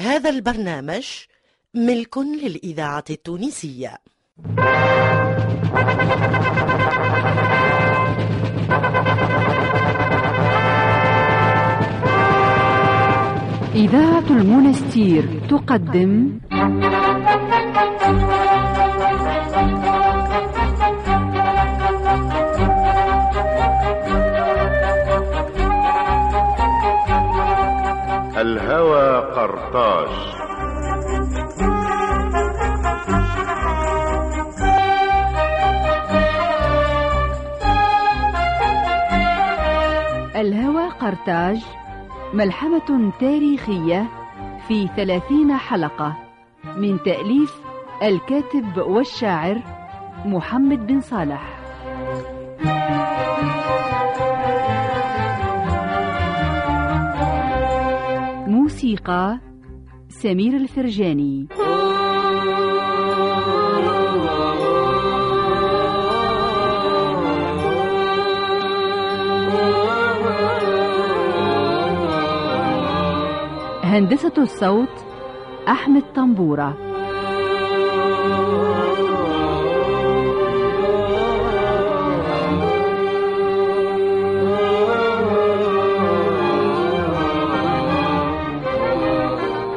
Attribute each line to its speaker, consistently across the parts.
Speaker 1: هذا البرنامج ملك للإذاعة التونسية
Speaker 2: إذاعة المنستير تقدم
Speaker 3: الهوى قرطاس
Speaker 2: الهوى قرطاج ملحمة تاريخية في ثلاثين حلقة من تأليف الكاتب والشاعر محمد بن صالح موسيقى سمير الفرجاني هندسة الصوت أحمد طنبورة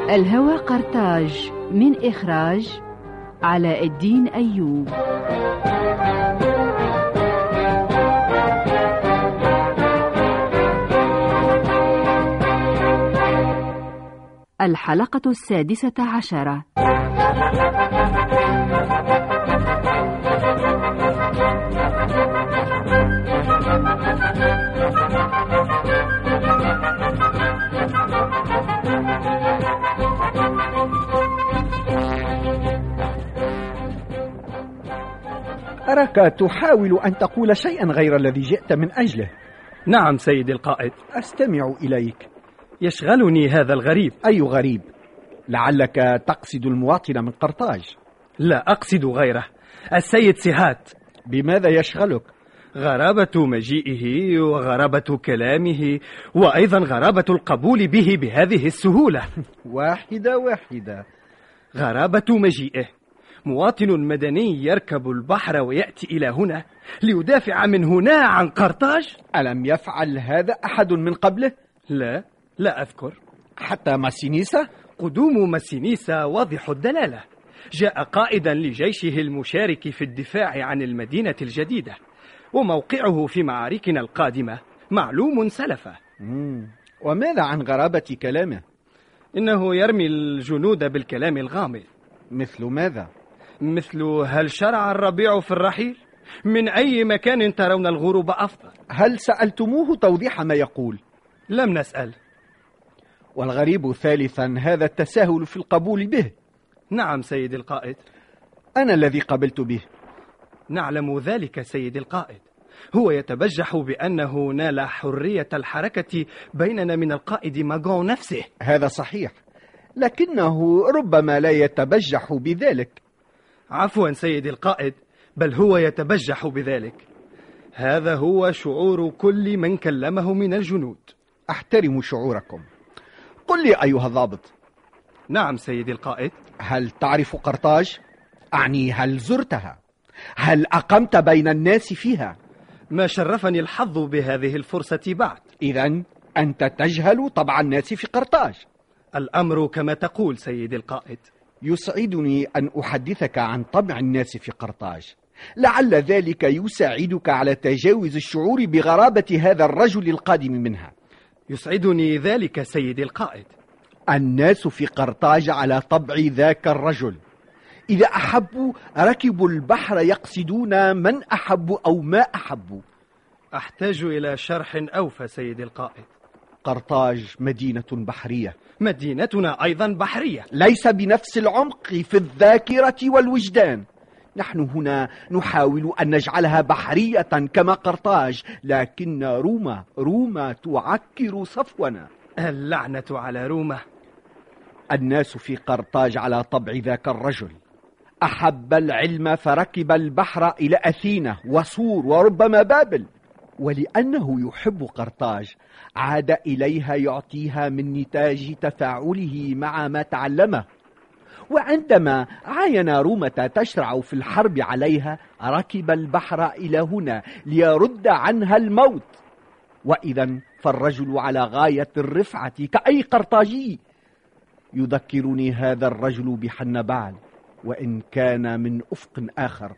Speaker 2: الهوى قرطاج من إخراج علاء الدين أيوب الحلقة السادسة عشرة
Speaker 4: أراك تحاول أن تقول شيئا غير الذي جئت من أجله
Speaker 5: نعم سيدي القائد
Speaker 4: أستمع إليك
Speaker 5: يشغلني هذا الغريب
Speaker 4: أي غريب لعلك تقصد المواطن من قرطاج
Speaker 5: لا أقصد غيره السيد سهات
Speaker 4: بماذا يشغلك؟
Speaker 5: غرابة مجيئه وغرابة كلامه وأيضا غرابة القبول به بهذه السهولة
Speaker 4: واحدة واحدة
Speaker 5: غرابة مجيئه مواطن مدني يركب البحر ويأتي إلى هنا ليدافع من هنا عن قرطاج
Speaker 4: ألم يفعل هذا أحد من قبله؟
Speaker 5: لا لا أذكر
Speaker 4: حتى ماسينيسا؟
Speaker 5: قدوم مسينيسا واضح الدلالة جاء قائدا لجيشه المشارك في الدفاع عن المدينة الجديدة وموقعه في معاركنا القادمة معلوم سلفا
Speaker 4: مم. وماذا عن غرابة كلامه؟
Speaker 5: إنه يرمي الجنود بالكلام الغامض
Speaker 4: مثل ماذا؟
Speaker 5: مثل هل شرع الربيع في الرحيل؟ من أي مكان ترون الغروب أفضل؟
Speaker 4: هل سألتموه توضيح ما يقول؟
Speaker 5: لم نسأل
Speaker 4: والغريب ثالثا هذا التساهل في القبول به
Speaker 5: نعم سيدي القائد
Speaker 4: أنا الذي قبلت به
Speaker 5: نعلم ذلك سيدي القائد هو يتبجح بأنه نال حرية الحركة بيننا من القائد ماغون نفسه
Speaker 4: هذا صحيح لكنه ربما لا يتبجح بذلك
Speaker 5: عفوا سيدي القائد بل هو يتبجح بذلك هذا هو شعور كل من كلمه من الجنود
Speaker 4: أحترم شعوركم قل لي أيها الضابط
Speaker 5: نعم سيدي القائد
Speaker 4: هل تعرف قرطاج؟ أعني هل زرتها؟ هل أقمت بين الناس فيها؟
Speaker 5: ما شرفني الحظ بهذه الفرصة بعد
Speaker 4: إذا أنت تجهل طبع الناس في قرطاج
Speaker 5: الأمر كما تقول سيدي القائد
Speaker 4: يسعدني أن أحدثك عن طبع الناس في قرطاج لعل ذلك يساعدك على تجاوز الشعور بغرابة هذا الرجل القادم منها
Speaker 5: يسعدني ذلك سيدي القائد
Speaker 4: الناس في قرطاج على طبع ذاك الرجل إذا أحبوا ركبوا البحر يقصدون من أحبوا أو ما أحبوا
Speaker 5: أحتاج إلى شرح أوفى سيدي القائد
Speaker 4: قرطاج مدينة بحرية
Speaker 5: مدينتنا أيضا بحرية
Speaker 4: ليس بنفس العمق في الذاكرة والوجدان نحن هنا نحاول أن نجعلها بحرية كما قرطاج لكن روما روما تعكر صفونا
Speaker 5: اللعنة على روما
Speaker 4: الناس في قرطاج على طبع ذاك الرجل أحب العلم فركب البحر إلى أثينا وصور وربما بابل ولأنه يحب قرطاج عاد إليها يعطيها من نتاج تفاعله مع ما تعلمه وعندما عاين رومة تشرع في الحرب عليها ركب البحر إلى هنا ليرد عنها الموت وإذا فالرجل على غاية الرفعة كأي قرطاجي يذكرني هذا الرجل بحنبعل وإن كان من أفق آخر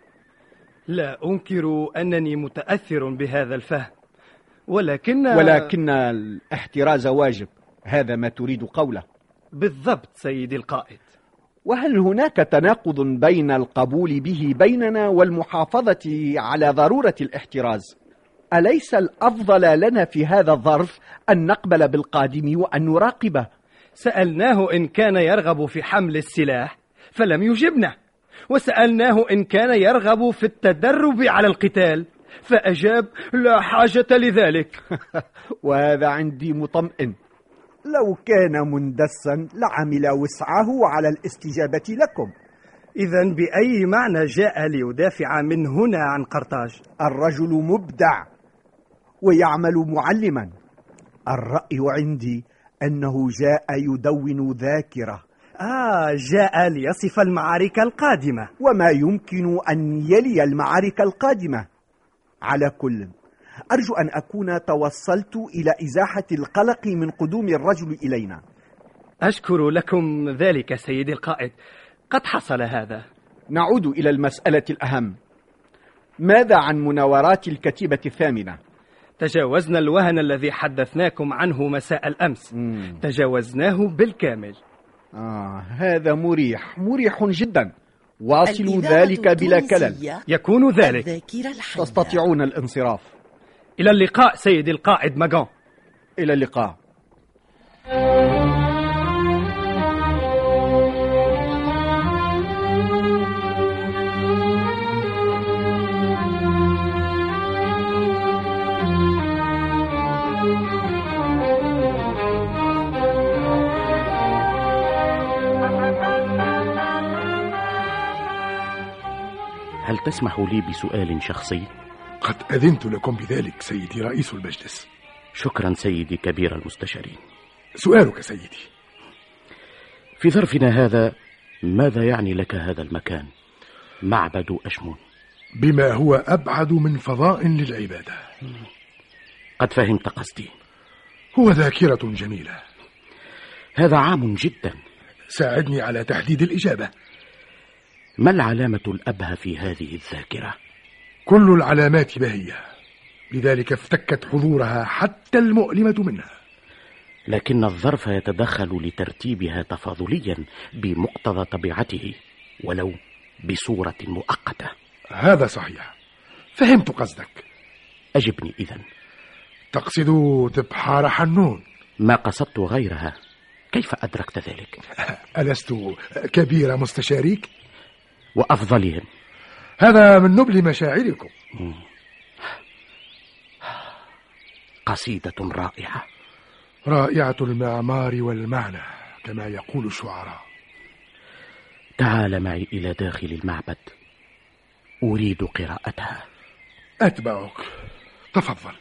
Speaker 5: لا أنكر أنني متأثر بهذا الفهم ولكن
Speaker 4: ولكن الاحتراز واجب هذا ما تريد قوله
Speaker 5: بالضبط سيدي القائد
Speaker 4: وهل هناك تناقض بين القبول به بيننا والمحافظة على ضرورة الاحتراز؟ أليس الأفضل لنا في هذا الظرف أن نقبل بالقادم وأن نراقبه؟
Speaker 5: سألناه إن كان يرغب في حمل السلاح فلم يجبنا وسألناه إن كان يرغب في التدرب على القتال فأجاب لا حاجة لذلك
Speaker 4: وهذا عندي مطمئن لو كان مندسا لعمل وسعه على الاستجابة لكم
Speaker 5: إذا بأي معنى جاء ليدافع من هنا عن قرطاج
Speaker 4: الرجل مبدع ويعمل معلما الرأي عندي أنه جاء يدون ذاكرة
Speaker 5: آه جاء ليصف المعارك القادمة
Speaker 4: وما يمكن أن يلي المعارك القادمة على كل أرجو أن أكون توصلت إلى إزاحة القلق من قدوم الرجل إلينا
Speaker 5: أشكر لكم ذلك سيدي القائد قد حصل هذا
Speaker 4: نعود إلى المسألة الأهم ماذا عن مناورات الكتيبة الثامنة؟
Speaker 5: تجاوزنا الوهن الذي حدثناكم عنه مساء الأمس تجاوزناه بالكامل
Speaker 4: آه هذا مريح مريح جدا واصلوا
Speaker 1: الإذاعة
Speaker 4: ذلك بلا كلل
Speaker 1: التونسية
Speaker 5: يكون ذلك
Speaker 1: الذاكرة الحية
Speaker 4: تستطيعون الانصراف
Speaker 5: إلى اللقاء سيدي القائد ماجون
Speaker 4: إلى اللقاء
Speaker 6: هل تسمح لي بسؤال شخصي؟
Speaker 7: قد أذنت لكم بذلك سيدي رئيس المجلس
Speaker 6: شكرا سيدي كبير المستشارين
Speaker 7: سؤالك سيدي
Speaker 6: في ظرفنا هذا ماذا يعني لك هذا المكان؟ معبد أشمون
Speaker 7: بما هو أبعد من فضاء للعبادة
Speaker 6: قد فهمت قصدي
Speaker 7: هو ذاكرة جميلة
Speaker 6: هذا عام جدا
Speaker 7: ساعدني على تحديد الإجابة
Speaker 6: ما العلامة الأبهى في هذه الذاكرة؟
Speaker 7: كل العلامات باهية لذلك افتكت حضورها حتى المؤلمة منها
Speaker 6: لكن الظرف يتدخل لترتيبها تفاضليا بمقتضى طبيعته ولو بصورة مؤقتة
Speaker 7: هذا صحيح فهمت قصدك
Speaker 6: أجبني إذا
Speaker 7: تقصد تبحار حنون
Speaker 6: ما قصدت غيرها كيف أدركت ذلك؟
Speaker 7: ألست كبير مستشاريك؟
Speaker 6: وأفضلهم
Speaker 7: هذا من نبل مشاعركم
Speaker 6: قصيدة رائعة
Speaker 7: رائعة المعمار والمعنى كما يقول الشعراء
Speaker 6: تعال معي إلى داخل المعبد أريد قراءتها
Speaker 7: أتبعك تفضل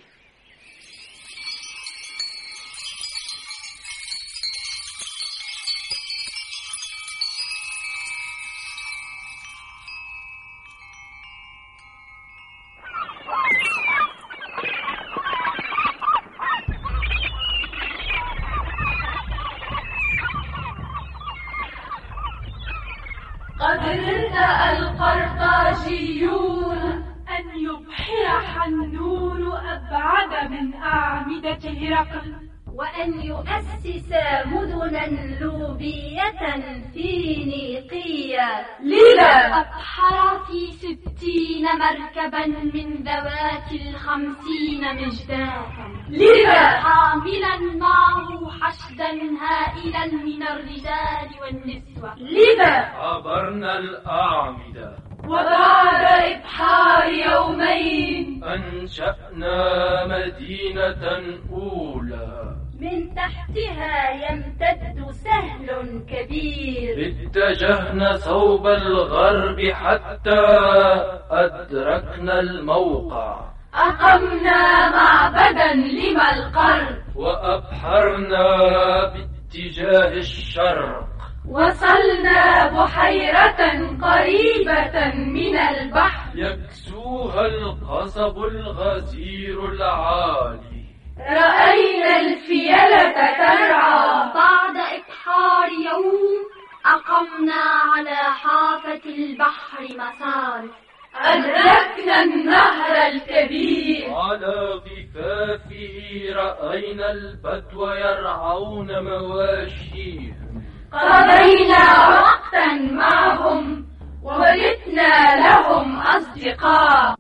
Speaker 8: قد رد القرطاجيون أن يبحر حنون أبعد من أعمدة هرقل
Speaker 9: وأن يؤسس مدنا لوبية في نيقية
Speaker 8: لذا
Speaker 9: أبحر في ستين مركبا من ذوات الخمسين مجدادا
Speaker 8: لذا
Speaker 9: حاملا معه حشدا هائلا من الرجال والنسوة
Speaker 8: لذا
Speaker 10: عبرنا الأعمدة
Speaker 8: وبعد إبحار يومين
Speaker 10: أنشأنا مدينة أولى
Speaker 9: من تحتها يمتد سهل كبير
Speaker 10: اتجهنا صوب الغرب حتى أدركنا الموقع
Speaker 8: أقمنا معبدا لما القرب
Speaker 10: وأبحرنا باتجاه الشرق
Speaker 8: وصلنا بحيرة قريبة من البحر
Speaker 10: يكسوها القصب الغزير العالي
Speaker 8: رأينا الفيلة ترعى
Speaker 11: بعد إبحار يوم أقمنا على حافة البحر مسار
Speaker 8: أدركنا النهر الكبير
Speaker 10: على ضفافه رأينا البدو يرعون مواشيهم
Speaker 8: قضينا وقتا معهم وبتنا لهم أصدقاء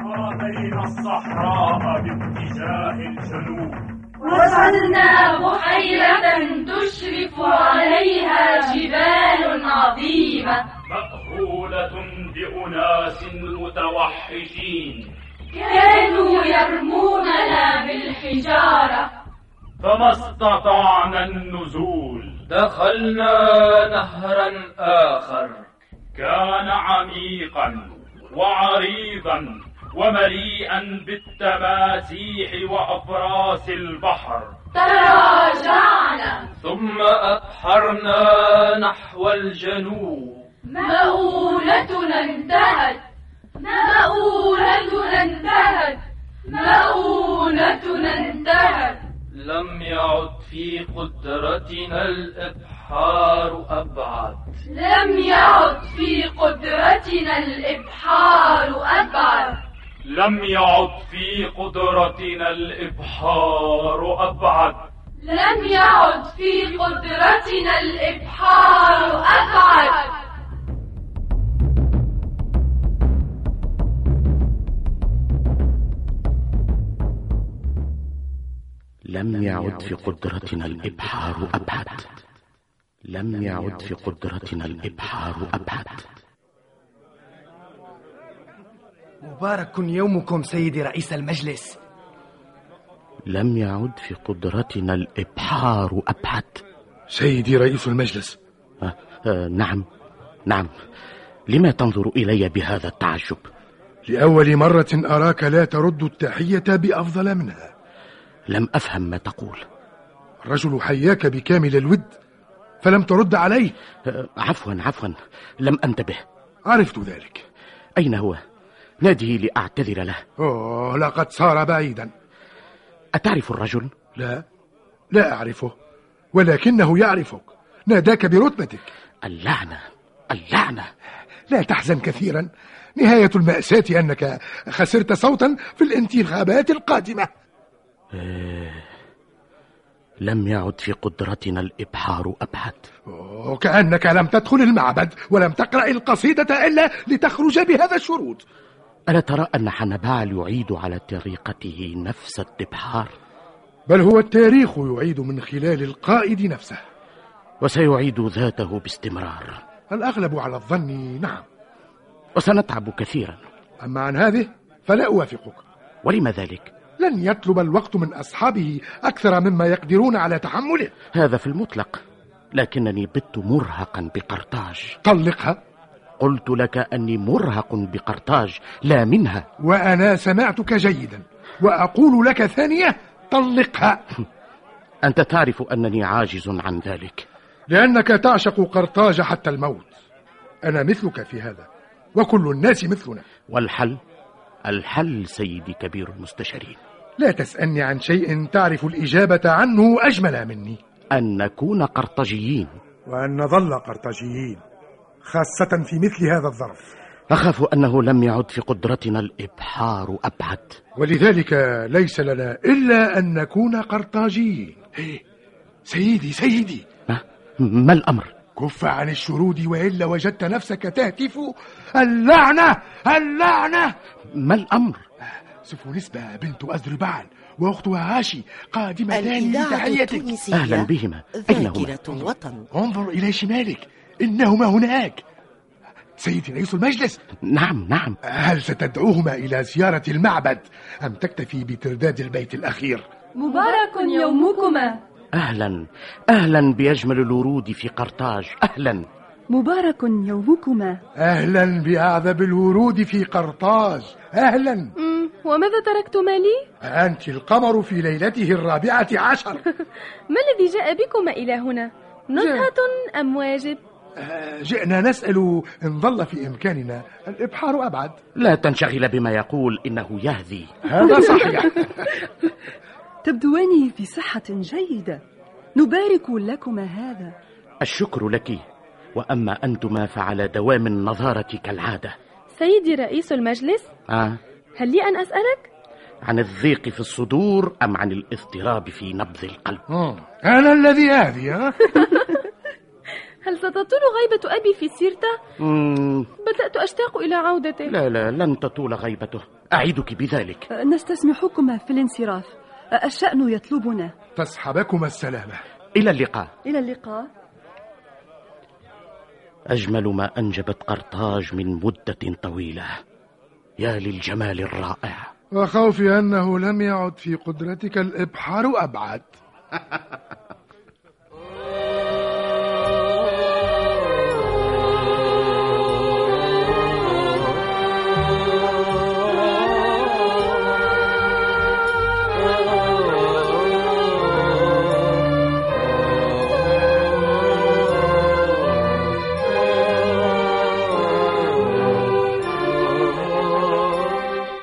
Speaker 12: عابرين الصحراء باتجاه الجنوب
Speaker 8: وصلنا بحيرة تشرف عليها جبال عظيمة
Speaker 12: مأهولة بأناس متوحشين
Speaker 8: كانوا يرموننا بالحجارة
Speaker 12: فما استطعنا النزول
Speaker 10: دخلنا نهرا آخر
Speaker 12: كان عميقا وعريضا ومليئا بالتماسيح وأفراس البحر
Speaker 8: تراجعنا
Speaker 10: ثم أبحرنا نحو الجنوب
Speaker 8: مؤونتنا انتهت مؤونتنا انتهت مؤونتنا انتهت
Speaker 10: لم يعد في قدرتنا الإبحار أبعد
Speaker 8: لم يعد في قدرتنا الإبحار أبعد
Speaker 12: لم يعد في قدرتنا الإبحار أبعد
Speaker 8: لم يعد في قدرتنا الإبحار أبعد
Speaker 5: لم يعد في قدرتنا الإبحار أبعد لم يعد في قدرتنا الإبحار أبعد
Speaker 4: مبارك يومكم سيدي رئيس المجلس
Speaker 5: لم يعد في قدرتنا الإبحار أبعد
Speaker 7: سيدي رئيس المجلس
Speaker 5: آه آه نعم نعم لما تنظر إلي بهذا التعجب
Speaker 7: لأول مرة أراك لا ترد التحية بأفضل منها
Speaker 5: لم أفهم ما تقول
Speaker 7: الرجل حياك بكامل الود فلم ترد عليه
Speaker 5: آه عفوا عفوا لم أنتبه
Speaker 7: عرفت ذلك
Speaker 5: أين هو؟ نادي لأعتذر له
Speaker 7: أوه لقد صار بعيدا
Speaker 5: أتعرف الرجل؟
Speaker 7: لا لا أعرفه ولكنه يعرفك ناداك برتبتك
Speaker 5: اللعنة اللعنة
Speaker 7: لا تحزن كثيرا نهاية المأساة أنك خسرت صوتا في الانتخابات القادمة
Speaker 5: آه، لم يعد في قدرتنا الإبحار أبعد
Speaker 7: أوه، كأنك لم تدخل المعبد ولم تقرأ القصيدة إلا لتخرج بهذا الشروط
Speaker 5: ألا ترى أن حنبعل يعيد على طريقته نفس الإبحار
Speaker 7: بل هو التاريخ يعيد من خلال القائد نفسه
Speaker 5: وسيعيد ذاته باستمرار
Speaker 7: الأغلب على الظن نعم
Speaker 5: وسنتعب كثيرا
Speaker 7: أما عن هذه فلا أوافقك
Speaker 5: ولم ذلك؟
Speaker 7: لن يطلب الوقت من أصحابه أكثر مما يقدرون على تحمله
Speaker 5: هذا في المطلق لكنني بت مرهقا بقرطاج
Speaker 7: طلقها
Speaker 5: قلت لك أني مرهق بقرطاج لا منها
Speaker 7: وأنا سمعتك جيدا وأقول لك ثانية طلقها
Speaker 5: أنت تعرف أنني عاجز عن ذلك
Speaker 7: لأنك تعشق قرطاج حتى الموت أنا مثلك في هذا وكل الناس مثلنا
Speaker 5: والحل الحل سيدي كبير المستشارين
Speaker 7: لا تسألني عن شيء تعرف الإجابة عنه أجمل مني
Speaker 5: أن نكون قرطاجيين
Speaker 7: وأن نظل قرطاجيين خاصة في مثل هذا الظرف
Speaker 5: أخاف أنه لم يعد في قدرتنا الإبحار أبعد
Speaker 7: ولذلك ليس لنا إلا أن نكون قرطاجيين إيه، سيدي سيدي
Speaker 5: ما, ما الأمر؟
Speaker 7: كف عن الشرود وإلا وجدت نفسك تهتف اللعنة اللعنة
Speaker 5: ما الأمر؟
Speaker 7: سفونسبا بنت أذربعل وأختها هاشي قادمتان
Speaker 1: الإذاعة
Speaker 7: لتحيتك
Speaker 1: التونسية
Speaker 5: أهلا بهما أين هما؟
Speaker 1: ذاكرة الوطن
Speaker 7: انظر إلى شمالك إنهما هناك سيدي رئيس المجلس
Speaker 5: نعم نعم
Speaker 7: هل ستدعوهما إلى زيارة المعبد أم تكتفي بترداد البيت الأخير؟
Speaker 13: مبارك يومكما
Speaker 5: أهلا أهلا بأجمل الورود في قرطاج أهلا
Speaker 8: مبارك يومكما
Speaker 7: أهلا بأعذب الورود في قرطاج أهلا
Speaker 8: مم، وماذا تركتما لي؟
Speaker 7: أنت القمر في ليلته الرابعة عشر
Speaker 8: ما الذي جاء بكما إلى هنا؟ نزهة أم واجب؟
Speaker 7: آه، جئنا نسأل إن ظل في إمكاننا الإبحار أبعد
Speaker 5: لا تنشغل بما يقول إنه يهذي
Speaker 7: هذا صحيح
Speaker 8: تبدوان في صحة جيدة نبارك لكما هذا
Speaker 5: الشكر لك وأما أنتما فعلى دوام النظارة كالعادة
Speaker 8: سيدي رئيس المجلس
Speaker 5: آه
Speaker 8: هل لي أن أسألك؟
Speaker 5: عن الضيق في الصدور أم عن الاضطراب في نبض القلب
Speaker 7: أنا الذي أهذي ها؟
Speaker 8: هل ستطول غيبة أبي في سيرته؟
Speaker 5: مم،
Speaker 8: بدأت أشتاق إلى عودته
Speaker 5: لا لا لن تطول غيبته أعدك بذلك
Speaker 8: نستسمحكما في الانصراف الشأن يطلبنا
Speaker 7: تصحبكما السلامة
Speaker 5: إلى اللقاء
Speaker 8: إلى اللقاء
Speaker 5: أجمل ما أنجبت قرطاج من مدة طويلة يا للجمال الرائع
Speaker 7: وخوفي أنه لم يعد في قدرتك الإبحار أبعد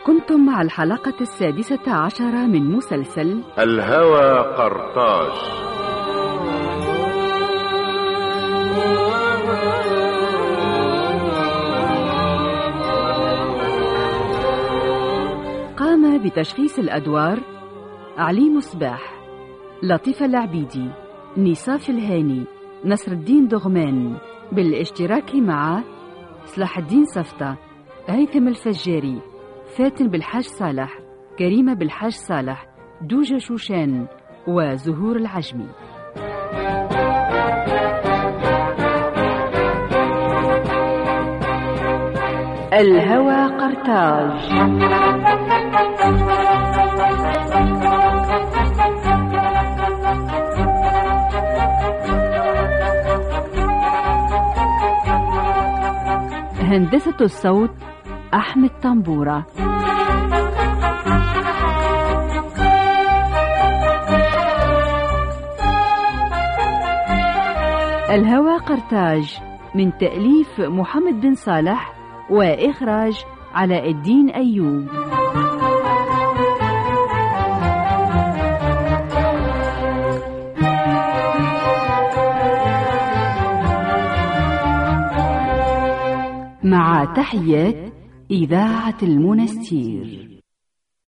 Speaker 2: كنتم مع الحلقة السادسة عشر من مسلسل
Speaker 3: الهوى قرطاج
Speaker 2: قام بتشخيص الأدوار علي مصباح لطيفة العبيدي نصاف الهاني نصر الدين دغمان بالاشتراك مع صلاح الدين صفتة هيثم الفجاري فاتن بالحاج صالح كريمة بالحاج صالح دوجة شوشان وزهور العجمي الهوى قرطاج هندسة الصوت أحمد طنبورة الهوى قرطاج من تأليف محمد بن صالح وإخراج علاء الدين أيوب مع تحيات إذاعة المنستير